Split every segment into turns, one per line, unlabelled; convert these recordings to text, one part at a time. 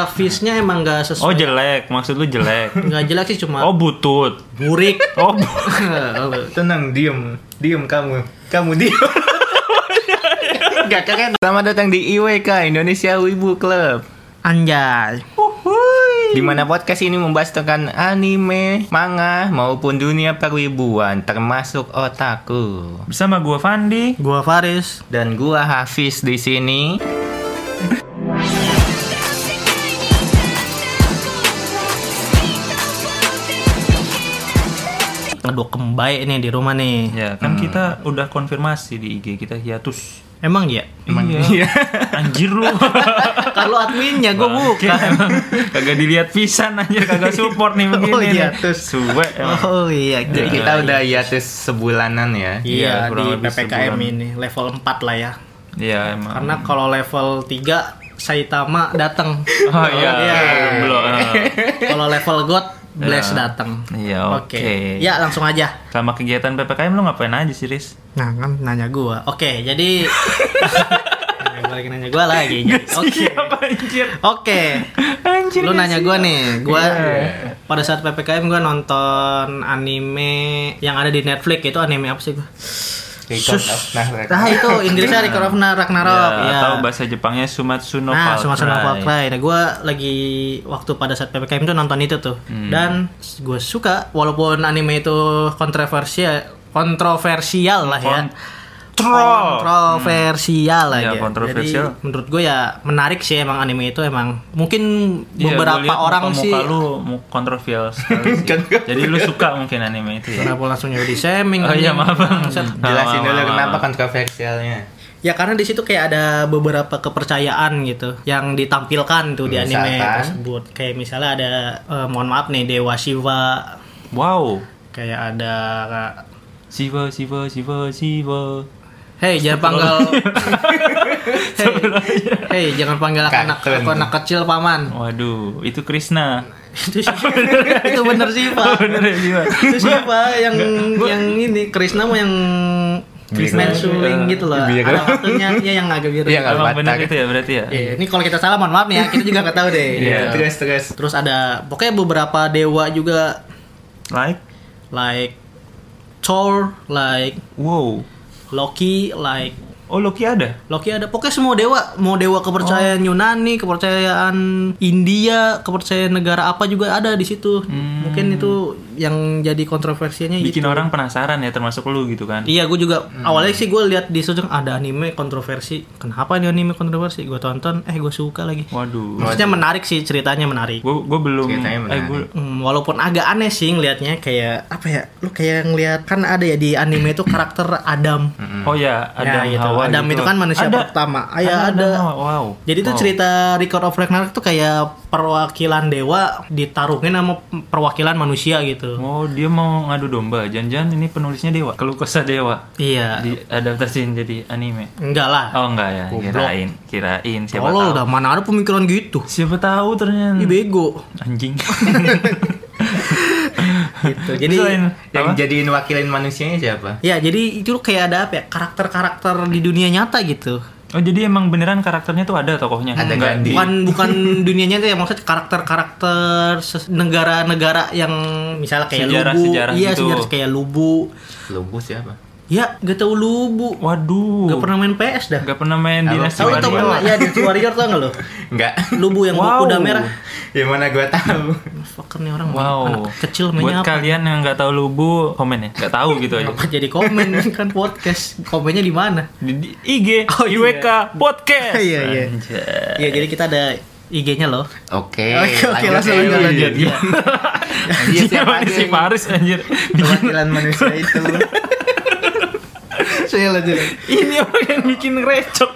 grafisnya emang nggak sesuai
Oh jelek, maksud lu jelek.
nggak jelek sih cuma
Oh butut.
burik
Oh bu-
Tenang, diem, diem kamu, kamu diem. Gak keren. Selamat datang di IWK Indonesia Wibu Club.
anjay
Di mana podcast ini membahas tentang anime, manga, maupun dunia perwibuan, termasuk otaku.
Bersama gua Fandi.
gua Faris
Dan gua Hafiz di sini.
aduh kembali nih di rumah nih
Ya kan kita udah konfirmasi di IG kita hiatus.
emang ya
iya. Anjir lu.
kalau adminnya gua bukan
kagak dilihat pisan anjir kagak support nih begini.
Oh,
nih.
hiatus.
Suwe emang.
oh iya
Jadi kita udah hiatus sebulanan ya.
iya
Iya, kurang
di
lebih
PPKM
sebulan.
ini level 4 lah ya
Iya emang.
karena kalau level 3 Saitama datang
Oh iya.
Iya.
Belum.
kalau level God Bless
Ya.
datang
Iya, oke.
ya langsung aja
Sama kegiatan PPKM lu ngapain aja sih, Riz?
nah kan nanya gua oke jadi nanya gua lagi nanya gua lagi oke
anjir?
Oke,
Anjir.
lu
gak
nanya
sih? ya? Iya.
gue nih, gue pada saat ppkm gue nonton anime yang ada di Netflix itu anime apa sih gue?
Record
Sus.
of Ragnarok. Iya,
Nah itu Inggrisnya Record of Na- Ragnarok.
Ya,
Ya,
Atau bahasa Jepangnya Sumatsu no
Nah, Sumatsu no
Valkyrie.
Valkyrie. Nah, gue lagi waktu pada saat ppkm itu nonton itu tuh,
Hmm.
dan gue suka walaupun anime itu kontroversial, kontroversial lah ya.
Kontrol.
kontroversial aja.
Iya, kontroversial.
Jadi, menurut gue ya menarik sih emang anime itu emang mungkin
Iya,
beberapa
gua liat
orang
muka
sih Kan
muka lu mu- kontroversial sekali sih. Jadi lu suka mungkin anime itu ya.
kenapa langsung jadi shaming? kan Nah,
Oh iya maaf bang.
Jelasin dulu
Maaf, maaf,
kenapa
maaf.
kontroversialnya.
Ya karena di situ kayak ada beberapa kepercayaan gitu yang ditampilkan tuh di anime
Misalkan?
tersebut. Kayak misalnya ada eh, mohon maaf nih Dewa Shiva,
Wow.
kayak ada
Siva, Siva, Siva, Siva.
Hei jangan panggil Hei hey, jangan panggil anak
Kartun.
anak kecil paman.
Waduh, itu Krishna.
itu sih- itu bener sih Pak.
Bener ya Siva?
itu siapa yang yang ini Krishna mau yang
Biru.
Krishna Suling gitu loh
Biru.
ada waktunya ya yang agak biru
Iya, nggak
Emang bener
batak.
itu ya berarti ya?
Iya, ini kalau kita salah mohon maaf nih ya kita juga nggak tahu deh
Iya.
Terus terus.
terus ada pokoknya beberapa dewa juga
Like,
like Thor like
wow.
Loki like
Oh Loki ada?
Loki ada pokoknya semua dewa mau dewa kepercayaan Yunani kepercayaan India kepercayaan negara apa juga ada di situ mungkin itu yang jadi kontroversinya Iya, gitu. itu.
Bikin orang penasaran ya termasuk lu gitu kan?
Iya, gue juga awalnya sih gue lihat di sosmed ada anime kontroversi. Kenapa ini anime kontroversi? Gue tonton, eh gue suka lagi.
Waduh.
Maksudnya menarik sih ceritanya menarik.
Gue gue belum.
Ceritanya
Eh
menarik.
gue
Hmm, walaupun agak aneh sih ngelihatnya kayak apa ya? Lu kayak ngelihat kan ada ya di anime itu karakter Adam.
Oh ya, Adam
Ya, gitu.
Hawa
Adam
gitu.
itu kan manusia
Ada-
pertama. Ah, ya,
Adam
ada.
Hawa, Wow.
Jadi tuh
Wow.
cerita Record of Ragnarok tuh kayak perwakilan dewa ditarungin sama perwakilan manusia gitu.
Oh, dia mau ngadu domba. Jangan-jangan ini penulisnya dewa. Keluh kesah dewa.
Iya.
Diadaptasiin jadi anime.
Enggak lah.
Oh enggak ya, kirain, kirain siapa
Tolol
tahu. Hmm.
dah, mana ada pemikiran gitu.
Siapa tahu ternyata
Ini bego.
anjing.
gitu. Jadi
Selain
Yang
apa?
jadiin wakilin manusianya siapa?
Ya, jadi itu kayak ada apa ya? Karakter-karakter di dunia nyata gitu.
Oh, jadi emang beneran karakternya tuh ada tokohnya.
Ada
Enggak
Gandhi.
di-
Bukan bukan dunia nyata ya, maksudnya karakter-karakter ses- negara-negara yang misalnya kayak Lubu.
Sejarah-sejarah
iya,
gitu.
sejarah kayak Lubu.
Lubu siapa?
Ya, gak tau Lubu.
Waduh.
Gak pernah main PS dah.
Gak pernah main
Halo,
Dynasty
Tahu itu
Warrior.
pernah ya di Warrior tau gak lo?
Enggak.
Lubu yang
Wow.
kuda merah.
Ya mana gua tahu.
Fucker nih orang
Wow.
anak kecil mainnya
Buat
apa?
kalian yang nggak tahu Lubu, komen ya. Gak tahu gitu aja.
Apa jadi komen kan podcast. Komennya di mana?
Di, di IG
Oh, iya.
IWK podcast.
Iya, iya.
Anjay.
Iya, jadi kita ada IG-nya loh.
Oke.
Oke, oke, langsung
aja.
lanjut, lanjut.
Iya. Iya,
Anjir,
siapa
mana
aja
si
yang
Paris anjir.
perwakilan manusia itu?
Saya lanjut.
Ini orang yang bikin recok.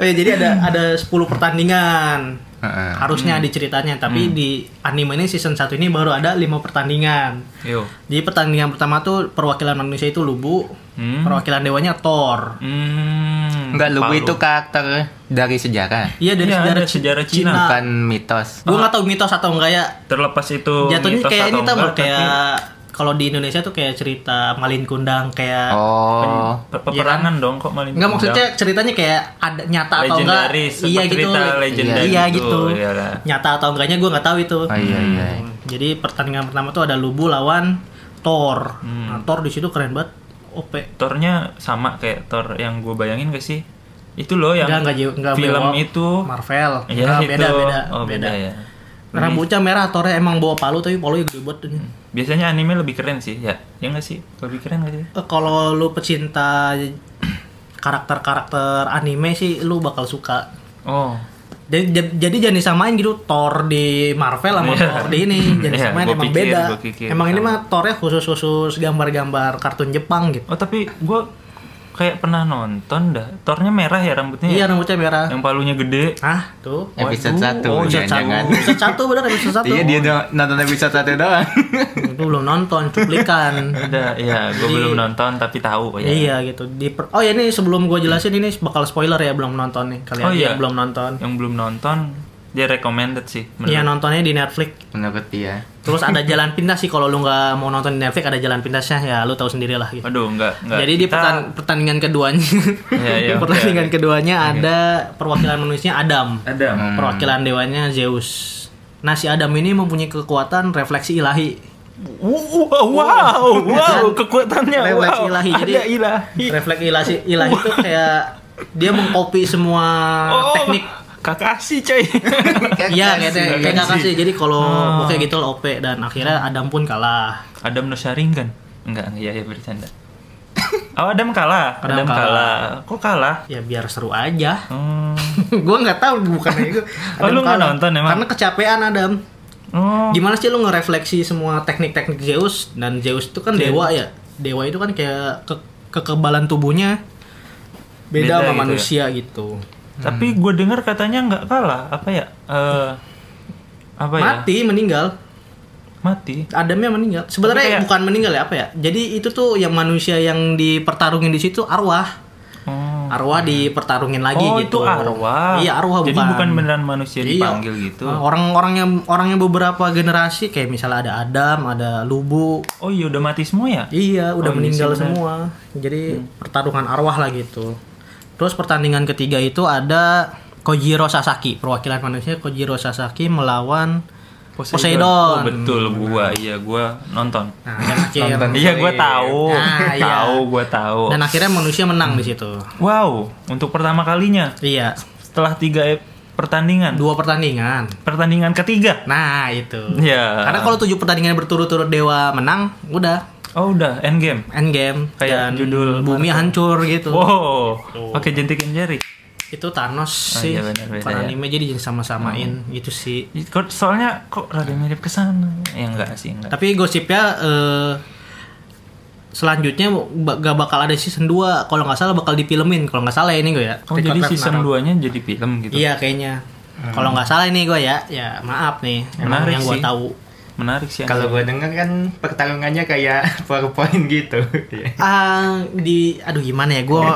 Oh ya, jadi ada ada 10 pertandingan.
Nah,
Heeh.
Harusnya
hmm.
di ceritanya, tapi di anime ini season 1 ini baru ada 5 pertandingan.
Yo.
Jadi pertandingan pertama tuh perwakilan manusia itu Lubu,
Hmm.
perwakilan dewanya Thor.
Hmm.
Enggak, Lubu
Palu.
itu karakter dari sejarah,
Iya dari
Iya,
sejarah,
ada sejarah
Cina.
Cina.
bukan mitos.
Gue nggak tahu mitos atau enggak ya.
terlepas itu
Jatuhnya
Oh, mitos
kayak
atau
ini tau
enggak,
kayak kalau di Indonesia tuh kayak cerita Malin Kundang kayak
Oh.
Hmm.
Pe- Peperangan dong kok maling
Enggak iya.
kundang.
maksudnya ceritanya kayak ada nyata atau enggak?
Legendaris,
Iya
sempat
gitu.
cerita legendaris
iya
gitu,
gitu.
iyalah.
Nyata atau enggaknya gue nggak tahu itu.
Oh iya iya.
Jadi pertandingan pertama tuh ada Lubu lawan Thor.
Hmm.
Nah, Thor di situ keren banget. OP.
Thor-nya sama kayak Thor yang gue bayangin gak sih? Itu loh yang
Enggak enggak jiwa- enggak
film
bewok.
itu.
Marvel.
Iya,
Enggak,
itu.
beda beda
Oh, beda.
beda.
ya.
Rambutnya merah, Thornya emang bawa palu tapi palunya gede banget.
Hmm. Biasanya anime lebih keren sih, ya. Ya nggak sih? Lebih keren nggak sih?
Eh, Kalau lu pecinta karakter-karakter anime sih lu bakal suka.
Oh.
Jadi, j- jadi jangan disamain gitu Thor di Marvel sama
Iya.
Thor di ini Jangan
Iya,
disamain
gua
emang
pikir,
beda
gua pikir.
Emang ini mah Thornya khusus-khusus gambar-gambar kartun Jepang gitu
Oh, tapi gue kayak pernah nonton dah. Thornya merah ya rambutnya.
Iya
ya?
rambutnya merah
Yang palunya gede.
Hah tuh
Waduh,
Episode satu
oh,
Episode satu
jangan-jangan.
Episode satu bener episode satu
Iya dia do- nonton episode satu doang.
Itu belum nonton cuplikan
Ada, ya. Gue
Jadi-
belum nonton tapi tahu ya.
Iya gitu di per- Oh ya ini sebelum gue jelasin ini bakal spoiler ya belum nonton nih Kalian
Oh, iya.
yang belum nonton
Yang belum nonton dia recommended sih. menurut
Iya nontonnya di Netflix
Menurut dia.
Terus ada jalan pintas sih kalau lu nggak mau nonton di Netflix ada jalan pintasnya ya lu tahu sendiri lah gitu
Aduh, enggak, enggak.
Jadi di pertan- pertandingan keduanya,
Iya, iya,
di
oke, Hmm.
pertandingan keduanya ada perwakilan manusianya Adam,
ada.
perwakilan dewanya Zeus. Nah si Adam ini mempunyai kekuatan refleksi ilahi,
Wow, wow, wow, kekuatannya
refleksi
wow.
ilahi. Jadi
Ada ilahi.
refleks ilahi ilahi itu kayak dia mengcopy semua
Oh,
uh, teknik.
Kakashi coy.
Iya kayak kayak kayak
Kakashi.
Kakashi. Jadi kalau
Oh.
pokoknya gitu lah OP dan akhirnya Adam pun kalah.
Adam no kan? Sharingan. Enggak, enggak, ya, ya bercanda. Oh, Adam kalah.
Adam
Adam, kalah. Kok kalah?
Ya biar seru aja.
Oh.
gue nggak tahu bukan itu.
Oh, lu nggak nonton emang?
Karena kecapean Adam.
Oh.
Gimana sih lu ngerefleksi semua teknik-teknik Zeus dan Zeus itu kan dewa ya. Dewa itu kan kayak ke- kekebalan tubuhnya beda,
Beda
sama
gitu
manusia gitu.
Tapi gue dengar katanya nggak kalah. Apa ya? Eh apa ya?
Mati meninggal.
Mati.
Adamnya meninggal. Sebenarnya
kayak-
bukan meninggal ya apa ya? Jadi itu tuh yang manusia yang dipertarungin di situ arwah.
Oh.
Arwah dipertarungin lagi
Oh,
gitu.
itu arwah.
Iya, arwah
Jadi bukan beneran manusia
Iya.
dipanggil gitu.
Orang-orang yang orang yang beberapa generasi kayak misalnya ada Adam, ada Lubu,
Oh, iya udah mati semua ya?
Iya, udah
Oh, ini
meninggal
sebenarnya.
semua. Jadi
Hmm.
pertarungan arwah lah gitu. Terus pertandingan ketiga itu ada Kojiro Sasaki, perwakilan manusia Kojiro Sasaki melawan
Oh,
Poseidon.
betul gua. Iya, gua nonton.
Nah, dan, akhir-
Nonton.
Iya, gua tahu.
Ah, iya.
Tahu, gua tahu.
dan akhirnya manusia menang di situ.
Wow, untuk pertama kalinya
Iya,
setelah tiga ep- pertandingan,
dua pertandingan.
pertandingan ketiga.
Nah, itu.
Ya.
Karena kalau tujuh pertandingan berturut-turut dewa menang, udah
Oh udah, end game.
end game dan
Kayak judul
bumi hancur gitu.
Wow, pakai jentikin jari.
Itu Thanos
Oh,
sih.
iya Hmm. benar, beda
bukan
ya.
anime jadi sama-samain gitu sih.
Kok- Soalnya kok rada mirip kesana. Ya enggak sih, enggak.
Tapi gosipnya eh, selanjutnya ba- gak bakal ada season 2 kalau nggak salah bakal difilmin kalau nggak salah ya ini gue ya.
Oh, jadi season 2-nya jadi film gitu. Hmm.
Iya kayaknya. Kalau nggak salah ini gue ya, ya maaf nih. Emang
Menarik
yang gue
sih.
tahu.
Menarik sih.
Kalau gua denger kan pertarungannya kayak PowerPoint gitu.
Ah di aduh gimana ya gue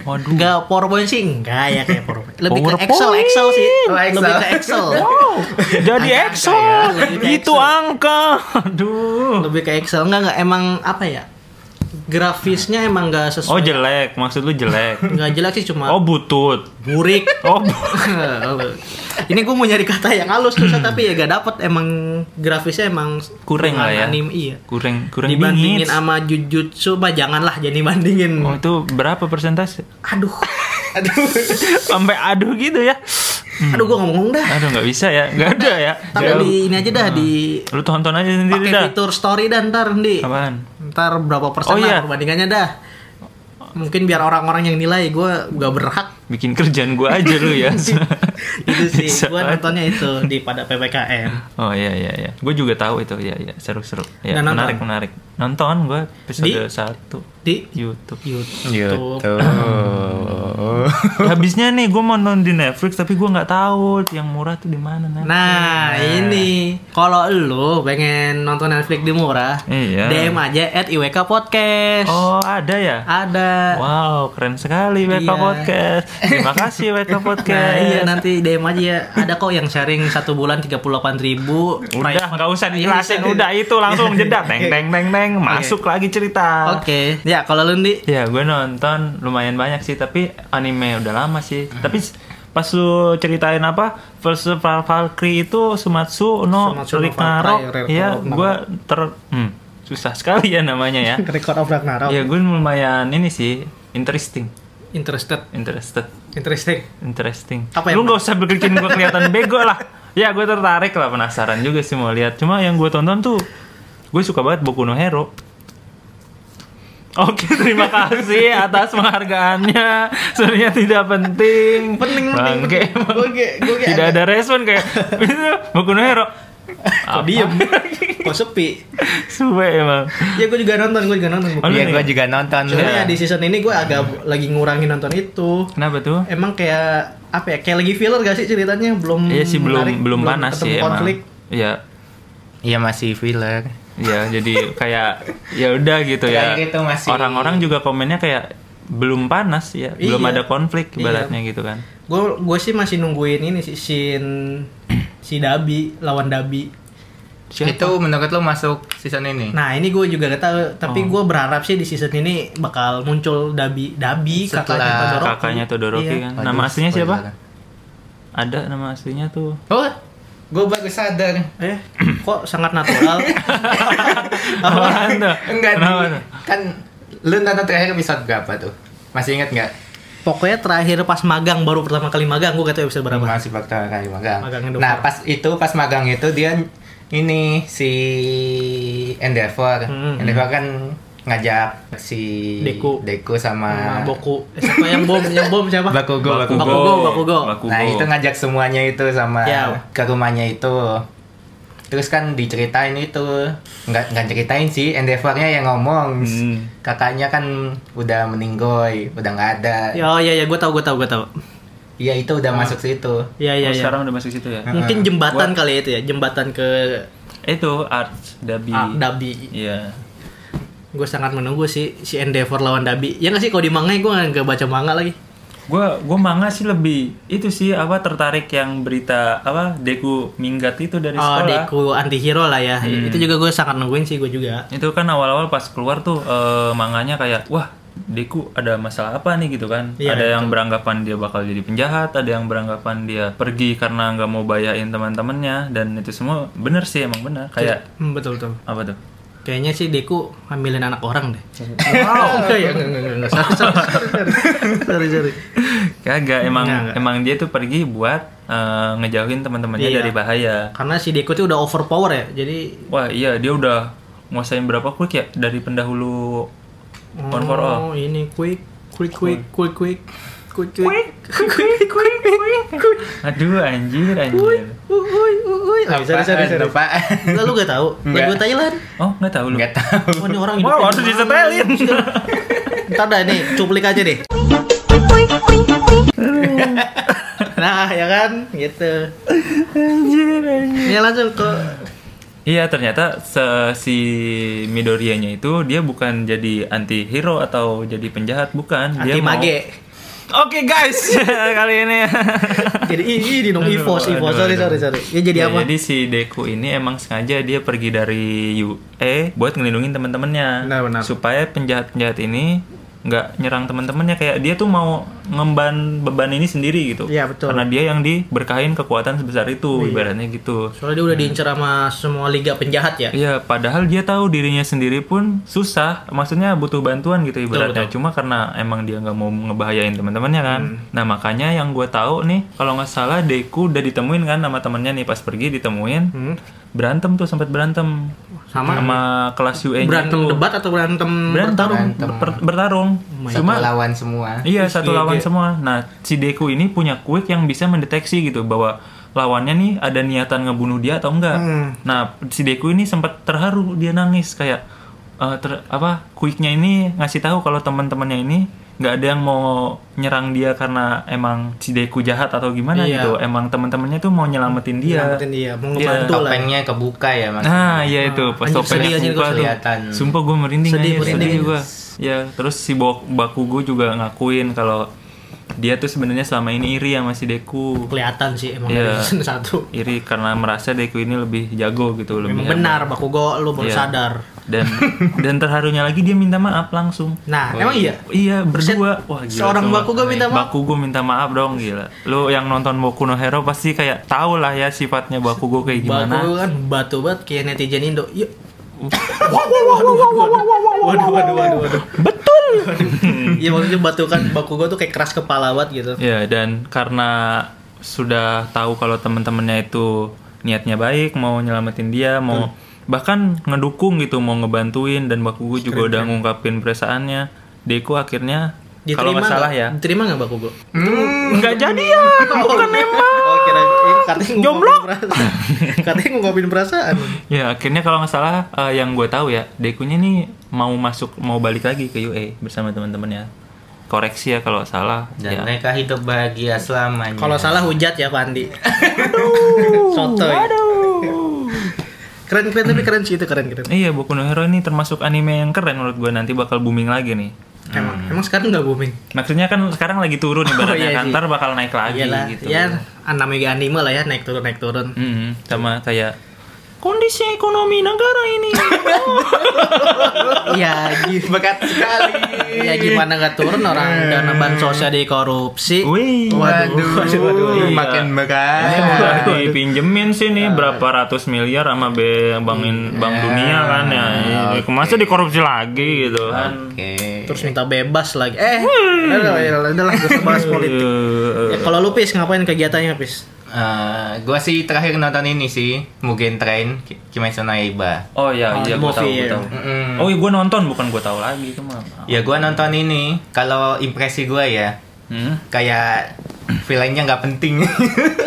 Waduh.
nggak PowerPoint sih enggak ya kayak PowerPoint. Lebih ke
PowerPoint.
Excel Excel sih.
Oh, Excel.
Lebih ke Excel.
jadi
Angka-angka
EXO.
ya, jadi ke
Itu
EXO.
angka. Aduh.
Lebih ke Excel enggak enggak emang apa ya? Grafisnya emang enggak
Oh
sesuai.
jelek, maksud lu jelek.
Enggak jelek sih cuma
Oh butut.
burik.
Oh bu-
ini gue mau nyari kata yang halus susah tapi ya gak dapet emang grafisnya emang
Kurang lah ya.
anime iya
kurang kurang
dibandingin
dingin.
sama Jujutsu mah janganlah jadi bandingin
Oh itu berapa persentase?
aduh
Sampai aduh gitu ya.
aduh gue ngomong dah
Aduh nggak bisa ya, nggak ada ya.
tapi
Jauh. Hmm.
di ini aja dah di
Lu tonton aja sendiri
pakai
dah.
fitur story dan ntar di
Apaan?
ntar berapa persen
Oh, iya.
lah perbandingannya dah mungkin biar orang-orang yang nilai gue gak berhak
Bikin kerjaan gua aja lu ya.
itu sih
Bisa
gue
banget.
nontonnya itu di pada ppkm
Oh iya iya iya. Gue juga tahu itu. Iya iya, seru-seru. Ya,
Dan nonton?
menarik menarik. Nonton gua episode
Di?
1
di
YouTube.
YouTube
Ya, habisnya nih gua mau nonton di Netflix tapi gua nggak tahu yang murah tuh di mana Nat.
Nah, ini kalau lu pengen nonton Netflix di murah,
Iya.
DM aja at IWK Podcast.
Oh, ada ya?
Ada.
Wow, keren sekali Beka
Iya.
Podcast. Terima kasih Weka
Nah,
Podcast.
iya nanti DM aja ya. Ada kok yang sharing satu bulan 38.000 ribu.
Udah nggak
Iya,
usah dijelasin, udah itu langsung jeda, teng teng teng teng, masuk lagi cerita.
Oke. Ya kalau lu Ndi,
Ya gue nonton lumayan banyak sih tapi anime udah lama sih. Tapi s- pas lu ceritain apa versus Val- Valkyrie itu Sumatsu no
Sumatsu no Valkyrie,
Ragnarok.
Ragnarok.
Ya gue ter hmm, susah sekali ya namanya ya.
Record of Ragnarok.
ya gue lumayan ini sih interesting,
Interested.
interested,
Interesting.
interesting.
Apa
lu
yang-
nggak usah bikin gue kelihatan bego lah. Ya gue tertarik lah penasaran juga sih mau lihat. Cuma yang gue tonton tuh gue suka banget Boku no Hero. Oke, terima kasih atas penghargaannya. Sebenarnya tidak penting.
Penting, penting,
Bangke,
penting. Gue ge- gue ge-
Tidak ada respon kayak itu Boku no Hero.
Kok diem? Kok sepi?
Suwe emang.
Ya gue juga nonton, gue juga nonton.
Oh, lu
Iya,
nih?
gue juga nonton.
Cuma ya di season ini gue agak lagi ngurangin nonton itu.
Kenapa tuh?
Emang kayak apa ya? Kayak lagi filler gak sih ceritanya? Belum
Iya sih belum
Hmm, menarik,
belum panas
ketemu
sih emang.
konflik.
Iya.
Iya masih filler.
Ya, jadi kayak ya udah gitu ya.
Kayak gitu masih-
Orang-orang juga komennya kayak belum panas ya, belum
Iya.
ada konflik
Iya.
ibaratnya gitu kan.
Gue gue sih masih nungguin ini sih sin si Dabi lawan Dabi.
Siapa?
Itu menurut lo masuk season ini?
Nah ini gue juga gak tahu,
Oh.
tapi gue berharap sih di season ini bakal muncul Dabi, Dabi kakaknya
Setelah
Todoroki.
Kakaknya Todoroki
Iya.
kan.
Waduh,
Nama aslinya siapa?
spoiler.
Ada nama aslinya tuh.
Oh, gue baru sadar.
Eh, kok sangat natural.
Apaan tuh?
Enggak
Kenapa
di,
tuh?
kan lu nonton terakhir episode berapa tuh? Masih ingat nggak?
Pokoknya terakhir pas magang baru pertama kali magang gue kata episode berapa?
Masih bakal kali magang.
Magangnya dokter.
Nah pas itu pas magang itu dia ini si Endeavor,
Hmm.
Endeavor kan ngajak si
Deku.
sama
Boku. Eh, siapa yang bom? Yang bom siapa?
Bakugo.
Bakugo. Bakugo.
Bakugo.
Nah itu ngajak semuanya itu sama
Ya.
ke rumahnya itu. Terus kan diceritain itu nggak nggak ceritain sih Endeavornya yang ngomong
Hmm.
kakaknya kan udah meninggoy udah nggak ada.
Ya, Ah. oh iya ya gue tahu gue tahu gue tahu.
Iya itu udah masuk situ.
Iya iya
Oh,
iya.
Sekarang udah masuk situ ya.
Mungkin jembatan kali ya itu ya, jembatan ke
Itu Arts Dabi.
ah, Dabi.
Iya.
Gue sangat menunggu sih si Endeavor lawan Dabi. Ya nggak sih kalau di manga gue nggak baca manga lagi.
Gua gua manga sih lebih itu sih apa tertarik yang berita apa Deku minggat itu dari
Oh,
sekolah.
Deku anti hero lah ya. Itu juga gue sangat nungguin sih gue juga.
itu kan awal-awal pas keluar tuh eh, manganya kayak wah Deku ada masalah apa nih gitu kan
Iya,
ada yang beranggapan dia bakal jadi penjahat ada yang beranggapan dia pergi karena nggak mau bayain teman-temannya dan itu semua bener sih emang bener kayak
Hmm, betul betul.
apa tuh
Kayaknya sih Deku hamilin anak orang deh.
wow
Enggak ya? Enggak, enggak, enggak. Sorry, sorry, sorry, sorry. Sorry, sorry.
kagak emang
Nggak, nggak.
emang dia tuh pergi buat eh, ngejauhin teman-temannya
Iya.
dari bahaya
Karena si Deku tuh udah overpower ya, jadi
wah iya dia udah nguasain berapa quick ya dari pendahulu one for all
Oh, ini quick, quick, quick, quick, quick, quick, quick, quick, quick, quick, quick.
aduh anjir anjir
Uhuy, uhuy. Ah, sorry,
eh,
sorry, sorry.
Apaan?
Enggak, lu gak tahu.
Enggak.
Lagu Thailand.
oh nggak tahu lu
Nggak tahu.
Wah, ini orang
Wah, harus
hidupnya gimana?
disetelin.
Ntar dah nih, cuplik aja deh. Nah, ya kan? Gitu. Ya langsung ke
Iya ternyata se- si Midoriya-nya itu dia bukan jadi anti hero atau jadi penjahat bukan dia
anti
mau-
mage.
Oke guys kali ini
Jadi ini dong Ivos,
Aduh,
Ivos.
aduh,
Sorry,
aduh.
sorry, sorry. Ya jadi
Ya,
apa?
jadi si Deku ini emang sengaja dia pergi dari UE buat ngelindungin teman-temannya
Benar, benar.
supaya penjahat-penjahat ini nggak nyerang teman-temannya kayak dia tuh mau ngemban beban ini sendiri gitu
Iya, betul. Oh, iya.
karena dia yang diberkahin kekuatan sebesar itu ibaratnya gitu
Soalnya dia udah diincar sama semua liga penjahat ya.
Iya, padahal dia tahu dirinya sendiri pun susah, maksudnya butuh bantuan gitu ibaratnya. Cuma karena emang dia nggak mau ngebahayain teman-temannya kan.
Hmm.
Nah makanya yang gue tahu nih, kalau nggak salah Deku udah ditemuin kan sama temannya nih pas pergi ditemuin, berantem tuh sempat berantem
Sama?
kelas UE -nya
Berantem
tuh.
debat atau berantem
berantem,
bertarung?
ber- bertarung.
Satu
Cuma
lawan semua.
Iya satu lawan semua. Nah si Deku ini punya quick yang bisa mendeteksi gitu bahwa lawannya nih ada niatan ngebunuh dia atau enggak.
Hmm.
Nah si Deku ini sempat terharu dia nangis kayak eh, ter- apa quicknya ini ngasih tahu kalau teman-temannya ini nggak ada yang mau nyerang dia karena emang si Deku jahat atau gimana
Iya.
gitu. Emang teman-temannya tuh mau nyelamatin dia.
Nyelamatin dia,
Iya,
mau ngebantu lah.
Topengnya kebuka ya mas.
Nah, iya itu pas
anjir,
topengnya
sedih, anjir, gua
buka tuh.
kelihatan.
Sumpah gue merinding
Sedih,
aja, Iya,
merinding.
sedih gue. Ya, terus si baku gue juga ngakuin kalau Dia tuh sebenarnya selama ini iri sama si Deku.
Kelihatan sih emang dari
Iya.
season 1.
Iri karena merasa Deku ini lebih jago gitu, lebih
Memang benar Bakugo lu baru
Iya.
sadar.
Dan dan terharunya lagi dia minta maaf langsung.
Nah, emang iya.
Iya berdua. Wah gila.
Seorang
semua.
Bakugo minta maaf.
Bakugo minta maaf dong gila. Lu yang nonton Boku no Hero pasti kayak tau lah ya sifatnya Bakugo kayak gimana.
Bakugo kan batu banget kayak netizen Indo. Iya. waduh, waduh, waduh, waduh, waduh, waduh, waduh. Betul. Iya maksudnya batu kan Bakugo tuh kayak keras kepala banget gitu.
Ya dan karena sudah tahu kalau teman-temannya itu niatnya baik, mau nyelamatin dia, mau bahkan ngedukung gitu, mau ngebantuin dan Bakugo juga udah ngungkapin perasaannya. Deku akhirnya kalau nggak salah ya
Diterima nggak Bakugo? Hmm,
nggak jadi ya.
Bukan emang. Oh, kira eh, katanya ngungkapin
Jomblo.
perasaan. katanya ngungkapin perasaan.
Ya akhirnya kalau nggak salah eh, yang gue tahu ya Dekunya nih mau masuk mau balik lagi ke UA bersama teman-temannya. Koreksi ya kalau salah. ya.
Dan mereka hidup bahagia selamanya.
Kalau salah hujat ya Pandi. Sotoy. Keren keren tapi keren sih itu keren gitu. keren.
Iya Boku no Hero ini termasuk anime yang keren menurut gue nanti bakal booming lagi nih.
Emang
Hmm.
emang sekarang nggak booming.
Maksudnya kan sekarang lagi turun
iya
ibaratnya kan
sih.
ntar bakal naik lagi
Iyalah,
gitu.
ya namanya anime lah ya naik turun naik turun.
Mm, sama kayak kondisi ekonomi negara ini.
Iya, gi-
Bekat sekali.
ya gimana nggak turun orang dana bansosnya dikorupsi.
Wih.
Waduh,
Waduh, waduh,
iya.
makin bekas.
dipinjemin sih
Iya.
nih berapa ratus miliar sama be- bankin bank dunia kan ya. Ini Masa dikorupsi lagi gitu kan.
Oke.
Terus minta bebas lagi. Eh, udah udah, udah lah, gak usah bahas politik.
Iya.
Ya, kalau lu pis ngapain kegiatannya pis?
Eh, gua sih terakhir nonton ini sih, Mugen Train Ki- Kimetsu no Yaiba.
Oh iya,
Oh, the
iya gue tahu,
movie,
gua
ya.
tahu.
Mm-mm.
Oh iya gue nonton bukan gue tahu lagi itu mah.
Iya.
Ya gua nonton ini, kalau impresi gua ya,
Hmm.
kayak filenya nggak penting.
Kayaknya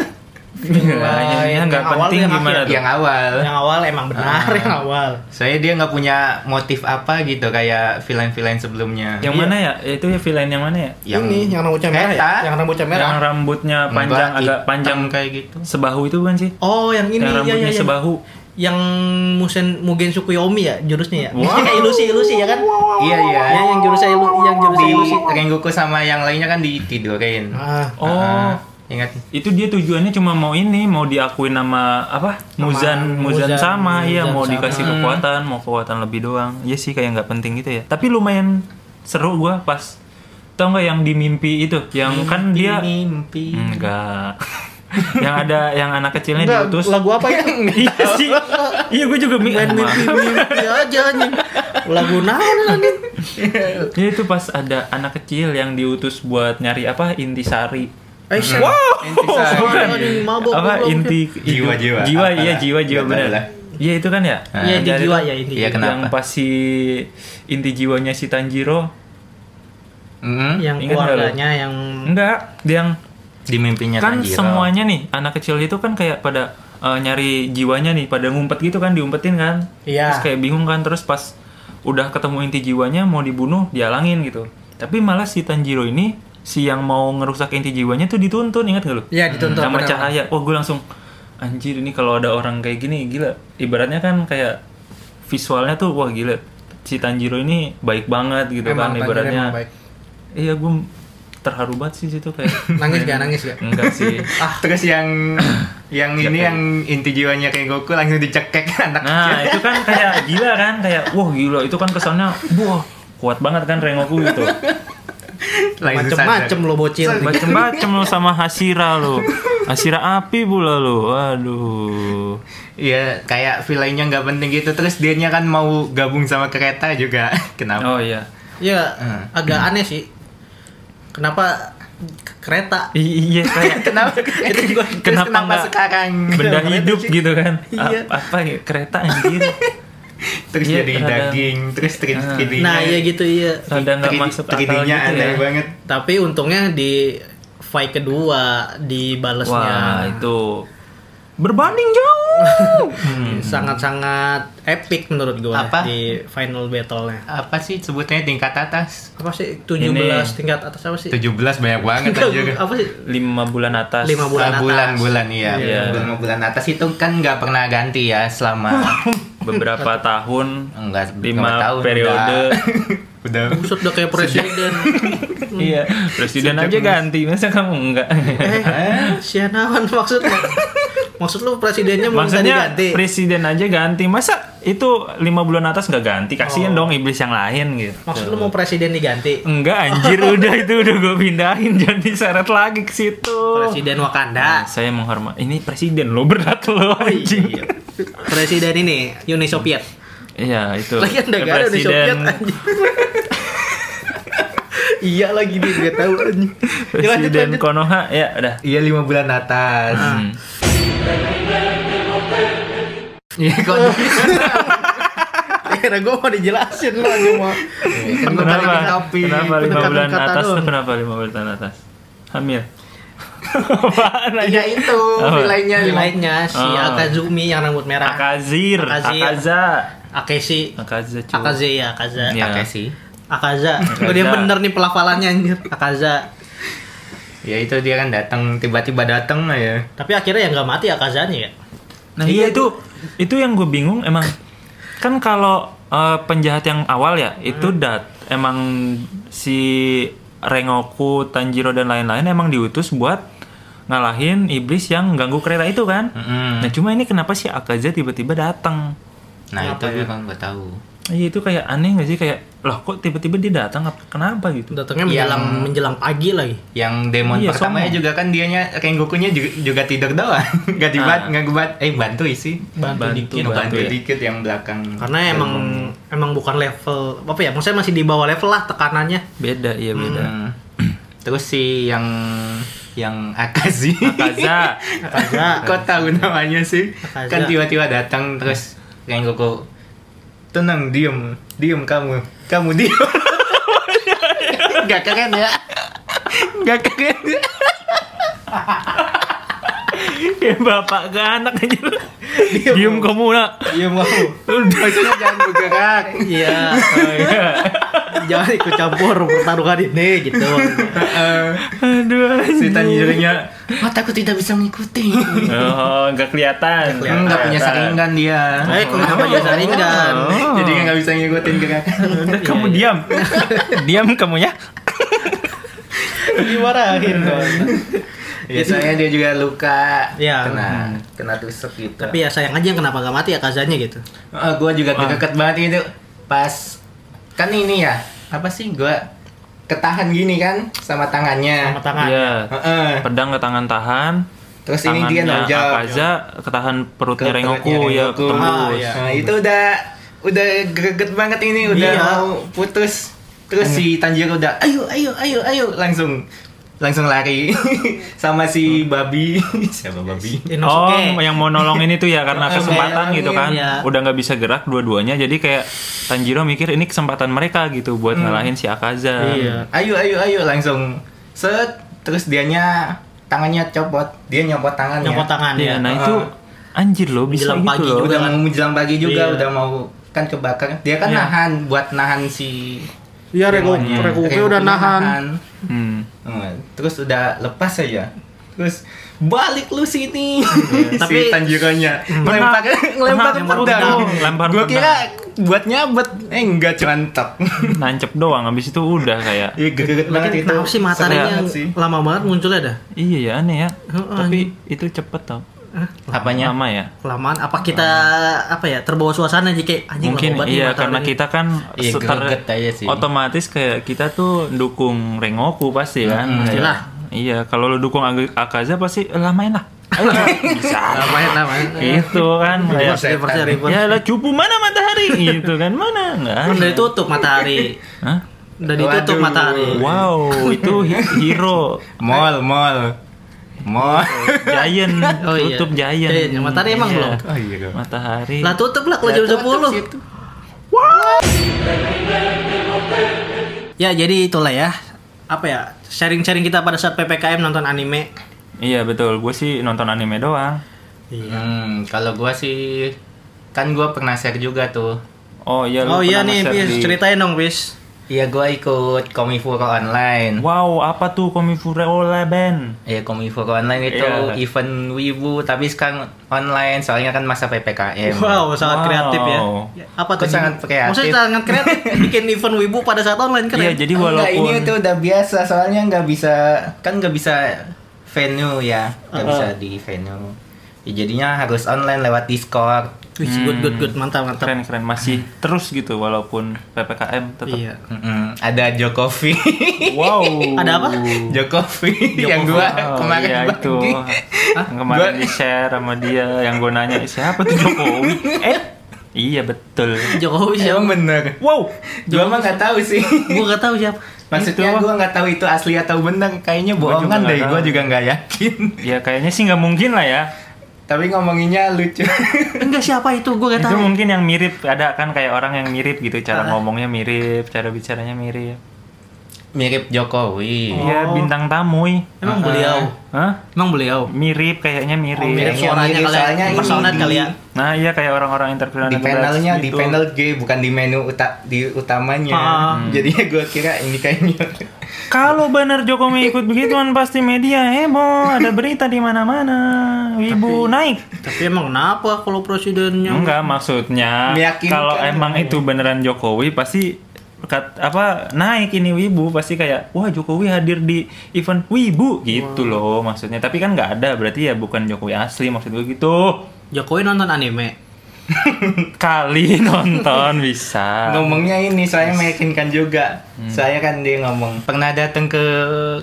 Iya, yang
Iya, nggak
awal
penting
yang
gimana
akhir.
tuh?
yang awal.
Yang awal emang benar
Ah.
yang awal.
Soalnya dia nggak punya motif apa gitu kayak villain-villain sebelumnya.
Yang mana
iya.
ya? Itu ya villain yang mana ya?
Ini yang rambutnya merah,
kereta.
ya? yang rambutnya merah.
Yang rambutnya panjang
Enggak,
agak
hitam
panjang
kayak gitu.
sebahu itu bukan sih?
Oh, yang ini ya,
yang rambutnya
ya, ya.
sebahu.
Yang Musen Mugen Tsukuyomi ya jurusnya ya.
Wow.
Kayak ilusi-ilusi ya kan?
Iya iya.
Ya, yang jurusnya ilu, yang jurusnya
Di
ilusi.
Rengoku sama yang lainnya kan ditidurin.
Ah,
Oh.
Ah, ingat
Itu dia tujuannya cuma mau ini, mau diakuin nama apa? Muzan, Muzan,
Muzan,
sama, iya
Muzan sama.
mau
Hmm.
dikasih kekuatan, mau kekuatan lebih doang. Iya sih kayak nggak penting gitu ya. Tapi lumayan seru gua pas tau nggak yang di mimpi itu, yang kan dia
mimpi.
enggak yang ada yang anak kecilnya
Enggak,
diutus.
lagu apa ya?
iya sih. Iya gue juga mikir.
Mimpi aja anjing. Lagu naon anjing?
Iya itu pas ada anak kecil yang diutus buat nyari apa intisari.
Eh, wow.
Oh,
Intisari.
mabok.
apa
goblok.
inti
Jiwa, jiwa.
Jiwa
Apalah.
iya jiwa jiwa
Betul lah.
benar. Iya itu kan ya?
Ah.
Iya, di
Jadi
jiwa
itu-
ya inti.
Iya, kenapa?
Yang pas si inti jiwanya si Tanjiro
Mm-mm.
Yang
Ingat nggak lu? Hmm?
keluarganya yang
enggak, yang
Di mimpinya
kan
Tanjiro.
semuanya nih anak kecil itu kan kayak pada eh, nyari jiwanya nih, pada ngumpet gitu kan, diumpetin kan.
Iya.
Terus kayak bingung kan, terus pas udah ketemu inti jiwanya mau dibunuh, dialangin gitu. Tapi malah si Tanjiro ini si yang mau ngerusak inti jiwanya tuh dituntun, ingat gak lu?
Iya, dituntun,
Sama
benar.
cahaya. Wah, gue langsung anjir ini kalau ada orang kayak gini gila. Ibaratnya kan kayak visualnya tuh wah gila. Si Tanjiro ini baik banget gitu
Emang
kan
Tanjiro
ibaratnya.
emang baik.
Iya, gue terharu banget sih situ kayak.
nangis gak nangis gak?
Enggak sih.
Ah, Terus yang yang ini yang inti jiwanya kayak Goku langsung dicekek anak
Nah, itu kan kayak gila kan, kayak wah gila itu kan kesannya wah kuat banget kan Rengoku gitu.
langsung
Macem-macem
sadar.
lo bocil.
Macem-macem lo sama Hasira lo. Hasira api pula lo. Waduh.
Iya, kayak villainnya nggak penting gitu. Terus dianya kan mau gabung sama kereta juga.
Oh
Kenapa?
iya.
Iya,
Hmm.
agak aneh sih. Kenapa ke- kereta?
I- iya kayak
Kenapa?
Itu gua-
Terus
kenapa
kenapa,
nggak-
sekarang?
benda hidup gitu kan. A-
Iya.
apa ya kereta anjir.
Terus
Iya,
jadi
terada.
daging, terus
Ah.
3D.
Nah, iya gitu iya.
Rada nggak masuk akal gitu
nya
ya.
aneh banget.
Tapi untungnya di fight kedua
Wah,
dibalesnya
itu berbanding jauh. Hmm.
sangat-sangat epic menurut gua
Apa?
di final battle-nya.
Apa sih sebutnya tingkat atas?
Apa sih
Ini.
17 tingkat atas apa sih?
17 banyak banget anjir.
Apa sih?
Lima bulan atas.
Lima bulan
Ah,
atas.
bulan-bulan iya.
Iya.
Bulan-bulan atas itu kan nggak pernah ganti ya selama
Beberapa tahun.
enggak
Lima
tahun
periode.
udah. udah, sudah
Buset udah kayak presiden.
Iya, presiden
Sejak
aja
dulu.
ganti. Masa kamu enggak?
eh, sianawan maksudnya. Maksud lu presidennya mau minta
Maksudnya
diganti?
presiden aja ganti. Masa itu lima bulan atas nggak ganti? Kasihan dong iblis yang lain gitu.
Oh. Maksud lu mau presiden diganti?
Enggak anjir udah itu udah gue pindahin jangan diseret lagi ke situ. Nah,
Presiden Wakanda.
Saya menghormati ini presiden lo berat
Oh,
lo anjing. Iya,
Presiden ini Uni Soviet.
itu.
Lagi anda
Ya,
gak ada Uni Soviet anjing. Iya lagi dia nggak tahu anjing. Ya, lanjut,
presiden
lanjut. Ah.
Konoha ya udah.
Iya lima bulan atas.
Hmm.
Iya kalau
Akhirnya gue mau dijelasin lah Kan cuma.
Iya, Kenapa? Kenapa lima
pendekatan
bulan
kata
atas? Tuh,
doang.
kenapa lima bulan atas? Hamil. Apaan aja?
Iya itu
Apa?
nilainya lima.
Nilainya si
Oh.
Akazumi yang rambut merah.
Akazir,
Akazir.
Akaza,
Akeshi.
Akaza cuy.
Akaze ya, Akaza.
Iya.
Takeshi.
Akaza.
Akaza.
Udah bener nih pelafalannya anjir. Akaza.
Ya itu dia kan datang tiba-tiba datang ya.
Tapi akhirnya yang nggak mati Akazanya ya.
Nah iya itu itu yang gue bingung emang kan kalau eh, penjahat yang awal ya itu dat emang si Rengoku, Tanjiro dan lain-lain emang diutus buat ngalahin iblis yang ganggu kereta itu kan.
Mm-mm.
Nah cuma ini kenapa sih Akaza tiba-tiba datang?
Nah
Kenapa
itu gue kan gak tahu.
Iya itu kayak aneh gak sih kayak loh kok tiba-tiba dia datang Apa- kenapa gitu?
Datangnya
Yang-
menjelang menjelang pagi lagi.
Yang demon
Iya,
pertamanya
sombong.
juga kan dianya Rengokunya juga, juga tidur doang. gak dibat,
Ah.
nggak ngebat, eh bantu isi.
Bantu,
Bantu,
dikit. Iya,
Bantu,
bantu ya.
dikit yang belakang. Hmm.
Karena emang emang bukan level apa ya? Maksudnya masih di bawah level lah tekanannya.
Beda iya beda.
Hmm. Terus si yang yang Akazi.
Akaza
Akaza.
Kok tahu namanya sih?
Akaza.
Kan tiba-tiba datang terus Rengoku tenang diem diem kamu kamu diem gak keren ya gak keren ya
kayak bapak ke anak aja. Diem kamu nak.
Iya mau. Maksudnya jangan bergerak.
Iya.
Oh,
Jangan ikut campur pertarungan ini gitu.
Heeh.
Aduh.
Eh,
anjing.
si Tanjiro-nya mataku tidak bisa mengikuti.
Oh, nggak kelihatan.
Enggak punya saringan dia.
Eh, kenapa dia saringan?
Oh.
Jadi nggak bisa ngikutin gerakan.
Udah, kamu diam. diam kamu ya.
Dimarahin dong.
Biasanya Ya, dia juga luka.
Iya.
Kena kena tusuk gitu.
Tapi ya sayang aja yang kenapa gak mati Akazanya gitu.
Eh, gua juga deket banget itu pas kan ini ya apa sih gua ketahan gini kan sama
Sama
tangannya.
tangan.
Iya.
Heeh.
Pedang ke tangan tahan.
Terus ini
tangannya
dia nonjol.
Akaza ketahan perutnya
Ke
Rengoku
perutnya
ya
Rengoku.
Ah,
tembus.
iya.
Nah, itu udah udah greget banget ini udah
Iya.
mau putus. Terus si Tanjiro udah ayo ayo ayo ayo langsung langsung lari sama
Hmm.
si babi. Siapa babi?
Oh,
Inosuke.
yang mau nolongin itu ya karena
Yang
kesempatan
nolongin,
gitu kan.
iya.
Udah nggak bisa gerak dua-duanya jadi kayak Tanjiro mikir ini kesempatan mereka gitu buat ngalahin si Akaza.
Hmm. Iya.
Ayo ayo ayo langsung set terus dianya tangannya copot. Dia nyopot tangannya.
Nyopot tangan
Iya,
ya.
nah itu anjir loh bisa
Menjelang
gitu
pagi
loh.
juga.
udah mau menjelang pagi juga
Iya.
udah mau kan kebakar. Dia kan
Iya.
nahan buat nahan si
Iya, Rengoku-
demonnya.
Rengoku
Rengokunya
udah nahan.
Hmm.
Hmm, terus udah lepas aja terus balik lu sini
Tapi-
si Tanjironya
Pernah-
ngelempar ngelempar
pernah,
pedang
pernah, lempar
gue
pedang.
kira buat nyabet eh enggak cuman tek
Nancep doang habis itu udah kayak
Iya, greget banget
Lagi
itu
kenapa sih
Serem
matanya
banget
yang lama banget munculnya dah?
Iya ya aneh ya.
Heeh.
Tapi itu cepet tau.
apanya
Lama ya.
kelamaan apa kita apa ya terbawa suasana aja kayak anjing
Mungkin
lama banget nih
iya
mata
karena
orang
kita kan
Iya,
setar-
greget aja sih.
otomatis kayak kita tuh dukung Rengoku pasti kan. Kayak-
pastilah.
Iya, kalau lu dukung Ag- Akaza pasti "Eh, lamain lah. Ayo lah." Bisa.
ini. lamain lamain
gitu kan. Kayak,
reverse reverse reverse
ya lah cupu mana matahari gitu kan. Mana enggak.
Kan udah ditutup matahari
Hah?
udah ditutup
Waduh.
matahari
Wow, itu hi- hero
mall mall mall
giant,
Oh, iya.
tutup giant.
Giant, yang matahari emang
Iya.
belum?
oh iya dong.
Matahari.
lah tutup lah kalau jam
Ya, tutup
10
situ.
ya jadi itulah ya apa ya sharing-sharing kita pada saat PPKM nonton anime
Iya betul, gue sih nonton anime doang. Iya.
hmm kalau gua sih kan gua pernah share juga tuh
Oh iya, lu
oh iya
pernah
nih iya,
nge-share
Bis
di-
ceritain dong Bis
Iya gue ikut Komifuro online.
Wow, apa tuh Komifure Ole Ben?
Ya Komifuro online itu
Iya.
event wibu tapi sekarang online soalnya kan masa PPKM.
Wow, sangat
Wow.
kreatif ya. Apa
Kok sangat kreatif?
Maksudnya sangat kreatif bikin event wibu pada saat online keren.
Iya, jadi
Ah, Enggak,
walaupun
ini tuh udah biasa soalnya nggak bisa kan nggak bisa venue ya, nggak
Uh-uh.
bisa di venue. Ya, jadinya harus online lewat Discord.
Wih, good good good, mantap mantap.
Hmm, keren keren masih terus gitu walaupun PPKM tetap.
Iya.
Mm-mm, Ada Jokowi.
Wow.
Ada apa?
Jokowi yang gua
Oh,
kemarin
iya,
bagi.
itu. Yang kemarin
Gua-
di share sama dia yang gue nanya siapa tuh Jokowi? eh, iya betul.
Jokowi
Emang
siapa?
bener.
Wow.
Gua mah nggak tahu sih.
Gue gak tahu siapa.
Maksudnya
Itu.
gua nggak tahu itu asli atau benar. Kayaknya
Iya. Gua juga
bohongan
nggak
deh.
tahu.
Gua juga nggak yakin.
Ya kayaknya sih nggak mungkin lah ya.
Tapi ngomonginnya lucu.
Enggak siapa itu, gue gak
Itu
tahu.
mungkin yang mirip ada kan kayak orang yang mirip gitu
Ah.
cara ngomongnya mirip, cara bicaranya mirip.
Mirip Jokowi.
Iya bintang tamu. ih.
Emang beliau.
Hah?
Emang beliau.
Mirip kayaknya Eh. mirip.
Oh,
Mirip
Yang
suaranya
mirip
kali ya.
soalnya ini
Personat
di-
kali ya.
Nah iya kayak orang-orang entrepreneur
Di
yang kelas
panelnya, di
gitu.
panel G bukan di menu uta- di utamanya.
Ah.
Jadinya gua kira ini kayaknya.
Kalau benar Jokowi ikut begituan pasti media heboh, ada berita di mana-mana, wibu naik.
Tapi emang kenapa kalau presidennya?
Enggak maksudnya
Meyakinkan.
kalau emang itu beneran Jokowi pasti kat- apa naik ini wibu pasti kayak wah Jokowi hadir di event wibu gitu loh maksudnya. Tapi kan nggak ada berarti ya bukan Jokowi asli maksud gue gitu.
Jokowi nonton anime.
Kali nonton bisa.
Ngomongnya ini soalnya meyakinkan juga.
Hmm.
Saya kan dia ngomong pernah datang ke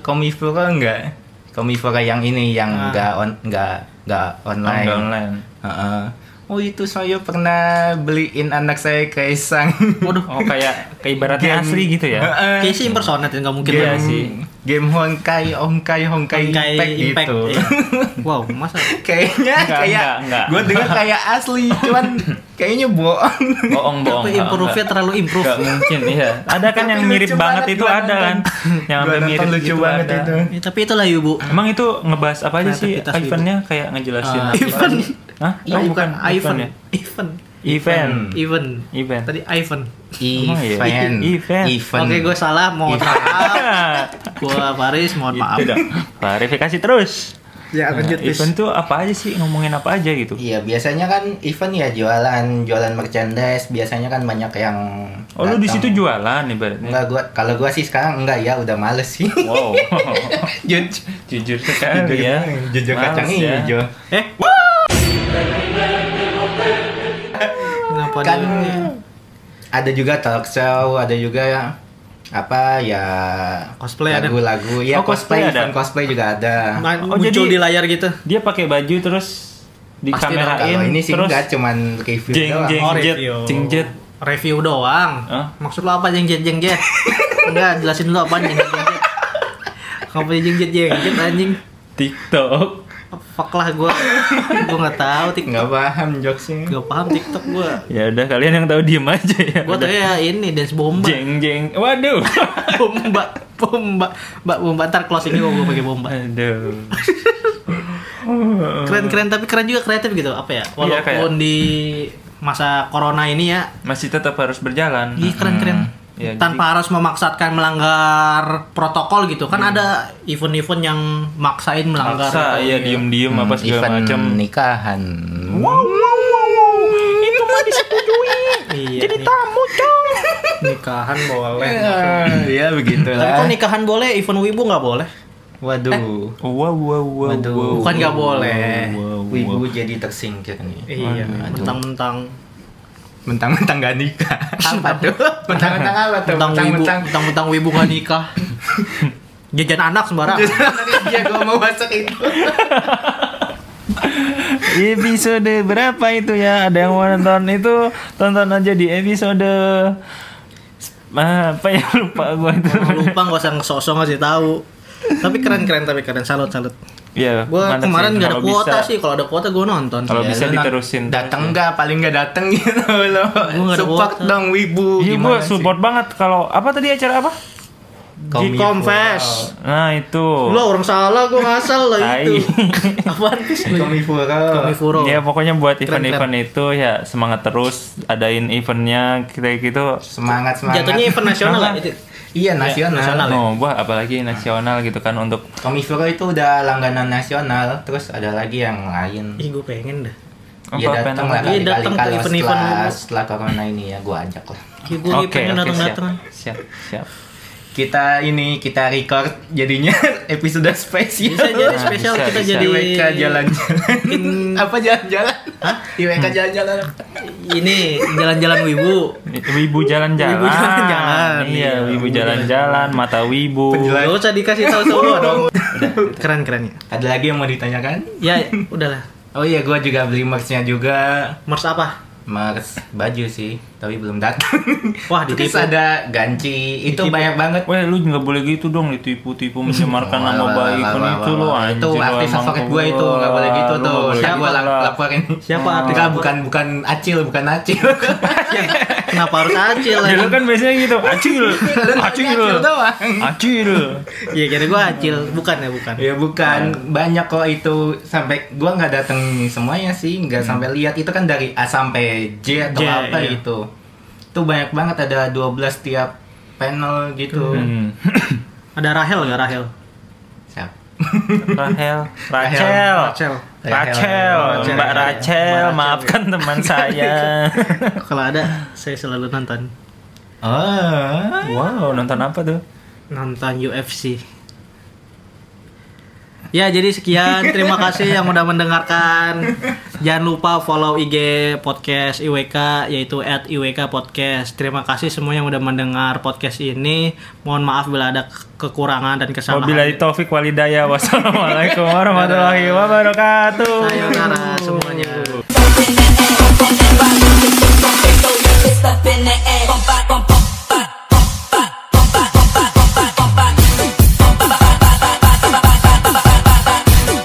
Komifora enggak? Komifora yang ini yang enggak on enggak enggak online.
Nonton online.
Heeh. Oh itu saya pernah beliin anak saya kaisang.
Waduh,
Oh kayak kayak ibaratnya asli gitu ya.
Heeh.
kayaknya sih impersonate ya, nggak mungkin
Iya
lah.
sih.
Game Honkai, Honkai, Honkai,
Kayak
Impact,
impact.
gitu.
iya. Wow, masa?
kayaknya
Enggak,
kayak
enggak, enggak.
gue dengar kayak asli, cuman kayaknya bohong.
Bohong bohong.
Tapi improve-nya terlalu improve.
Gak mungkin iya. Ada kan
Tapi
yang
lucu
mirip banget
banget
itu
gua
ada kan.
nonton.
Yang
Gua
sampai mirip
nonton lucu
gitu
banget
ada.
itu.
Ya, tapi itulah ya, Bu.
Emang itu ngebahas apa aja sih
Kreativitas gitu.
eventnya kayak ngejelasin
Ah,
apa?
event. Iya,
Hah? Oh, bukan event
Ivan.
ya. Iya.
Ivan.
Event.
Ivan.
Event.
Tadi Ivan.
Emang iya?
Event,
Event.
event.
Oke, gue salah, mohon maaf. Gue Paris, mohon maaf.
Itu dong. Gitu Klarifikasi terus.
Ya,
Nah, event tuh apa aja sih ngomongin apa aja gitu?
Iya biasanya kan event ya jualan, jualan merchandise. Biasanya kan banyak yang.
Oh lu di
datang.
situ jualan ibaratnya.
Enggak gua kalau gua sih sekarang enggak ya udah males sih.
Wow.
Jujur.
Jujur sekali ya.
Jujur
Males
kacang
ya.
hijau.
Eh, kenapa
kan
dia?
ada juga talk show, ada juga ya apa ya
Cosplay ada. Nah,
lagu-lagu
Oh,
ya
cosplay ada.
cosplay event cosplay juga ada
Ma-
Oh,
muncul
jadi-
di layar gitu.
Dia pakai baju terus
Pasti dong,
dikamerain
kalau ini sih
terus
enggak cuman review
jeng
doang
jeng
Oh,
jet
review.
jeng jet
Review doang.
Hah?
Maksud lo apa jeng jet jeng jet? Enggak, jelasin dulu apa jeng jet jeng jet. Kenapa jeng jet jeng jet anjing?
TikTok.
Fuck lah gue. Gue nggak tahu TikTok.
nggak paham jokesnya
Gak paham TikTok gue.
Ya udah kalian yang tahu diem aja ya.
Gue
Udah.
tau ya ini dance bomba.
jeng jeng. Waduh.
Bomba, bomba, mbak bomba. Ntar closing gue gue pakai bomba.
Aduh.
Keren keren tapi keren juga kreatif gitu apa ya?
Iya, kayak-
Walaupun di masa corona ini ya
Masih tetap harus berjalan.
Iya keren-keren.
Ya,
Tanpa harus memaksakan melanggar protokol gitu. Kan ada event-event yang maksain melanggar.
Mm.
gitu.
Maksa ya diem-diem apa
Mm,
segala
Hmm, event
macam.
nikahan
Itu mah disetujui.
Iya, Jadi
tamu, Cong.
nikahan boleh.
Iya,
Eh, ya
Tapi kan kok
begitulah
nikahan boleh, event wibu nggak boleh?
waduh
Wow, wow, wow.
Waduh.
wow.
Bukan nggak boleh.
Wow, wow.
Wibu jadi tersingkir nih
Iya,
Aduh.
mentang-mentang
mentang-mentang gak nikah
Apa tuh?
mentang-mentang apa tuh
mentang wibu,
mentang-mentang
mentang-mentang wibu nggak nikah. Jajan anak sembarangan.
Iya, gua mau masuk itu.
Episode berapa itu ya? Ada yang mau nonton itu tonton aja di episode Ah, apa ya lupa gua itu.
Lupa nggak usah ngesosok ngasih tahu. Tapi keren-keren tapi keren. Salut salut.
Ya,
Gua
mantap
kemarin
sih.
nggak ada
Kalau
kuota
bisa- Iya,
sih. Kalau ada kuota gue nonton. Iya.
Kalau
Ya,
bisa
lu nak-
diterusin.
Dateng nggak? Paling nggak dateng gitu loh.
nggak ada
Support
kuota.
dong Wibu.
Iya,
Gimana
gua
sih?
support banget kalau apa tadi acara apa?
Di confess.
Nah itu.
Lo orang salah gua ngasal lah itu. Apaan sih?
Komifura.
Komifuro.
Ya pokoknya buat
Keren,
event-event itu ya semangat terus adain eventnya kayak gitu.
Semangat semangat.
Jatuhnya event nasional lah
Semangat.
itu.
Iya nasional.
nasional. ya?
Oh, buat apalagi nasional gitu kan untuk
Komifura itu udah langganan nasional. Terus ada lagi yang lain.
Ih, gue pengen dah.
Iya
apa, penang-
datang lah
Iya,
kali kali
datang ke
kalau
event-event.
setelah setelah corona ini ya gua ajak lah.
Ih, Iya, gua pengen
Oke, oke, siap, Iya.
datang-datang.
siap, siap.
Kita ini kita record jadinya episode spesial.
Bisa jadi
Nah,
spesial
bisa,
kita
bisa.
jadi
IWK jalan-jalan. Hmm. Apa jalan-jalan? Hah? IWK jalan-jalan.
Ini jalan-jalan wibu.
Wibu jalan-jalan.
Wibu jalan-jalan.
Iya, wibu jalan-jalan, mata wibu.
Penjelas-
Gak usah dikasih tahu semua dong. Oh, Keren keren ya.
Ada lagi yang mau ditanyakan?
Ya, ya, udahlah.
Oh iya, gua juga beli merch-nya juga.
Mars apa?
Merch baju sih, tapi belum datang.
Wah,
Terus
ditipu.
ada ganci. Itu
Ditipu.
banyak banget.
Weh, lu nggak boleh gitu dong ditipu-tipu mencemarkan
Wah,
nama
wah,
baik
wah,
kan
wah,
itu
wah,
lu
wah.
anjing.
Itu
lu
artis
emang
favorit gue itu,
goblok.
nggak boleh gitu
Lu
tuh.
nggak boleh
Siapa gue
gitu lah.
laporin.
Siapa artis
Enggak,
favorit?
bukan bukan acil, bukan acil.
Ya, Kenapa harus acil?
Ya, lu
anjing?
kan biasanya gitu, acil,
Lu nanya
acil,
acil doang.
acil.
Iya, kira gua acil. Bukan ya, bukan.
Ya bukan banyak kok itu sampai gua nggak datang semuanya sih nggak sampai lihat itu kan dari A sampai J atau
J,
apa
iya.
gitu. Itu banyak banget ada 12 tiap panel gitu.
Hmm.
Ada Rahel nggak Rahel?
Siap.
Rahel,
Rahel.
Rachel.
Rachel, Rachel,
Rachel.
Mbak Rachel, maafkan teman saya.
Kalau ada, saya selalu nonton.
Oh.
Wow, nonton apa tuh?
Nonton UFC. Ya, jadi sekian. Terima kasih yang udah mendengarkan. Jangan lupa follow IG podcast IWK yaitu @iwkpodcast. Terima kasih semua yang udah mendengar podcast ini. Mohon maaf bila ada ke- kekurangan dan kesalahan.
Wabillahi taufik walidaya. Wassalamualaikum warahmatullahi wabarakatuh.
Sayonara semuanya.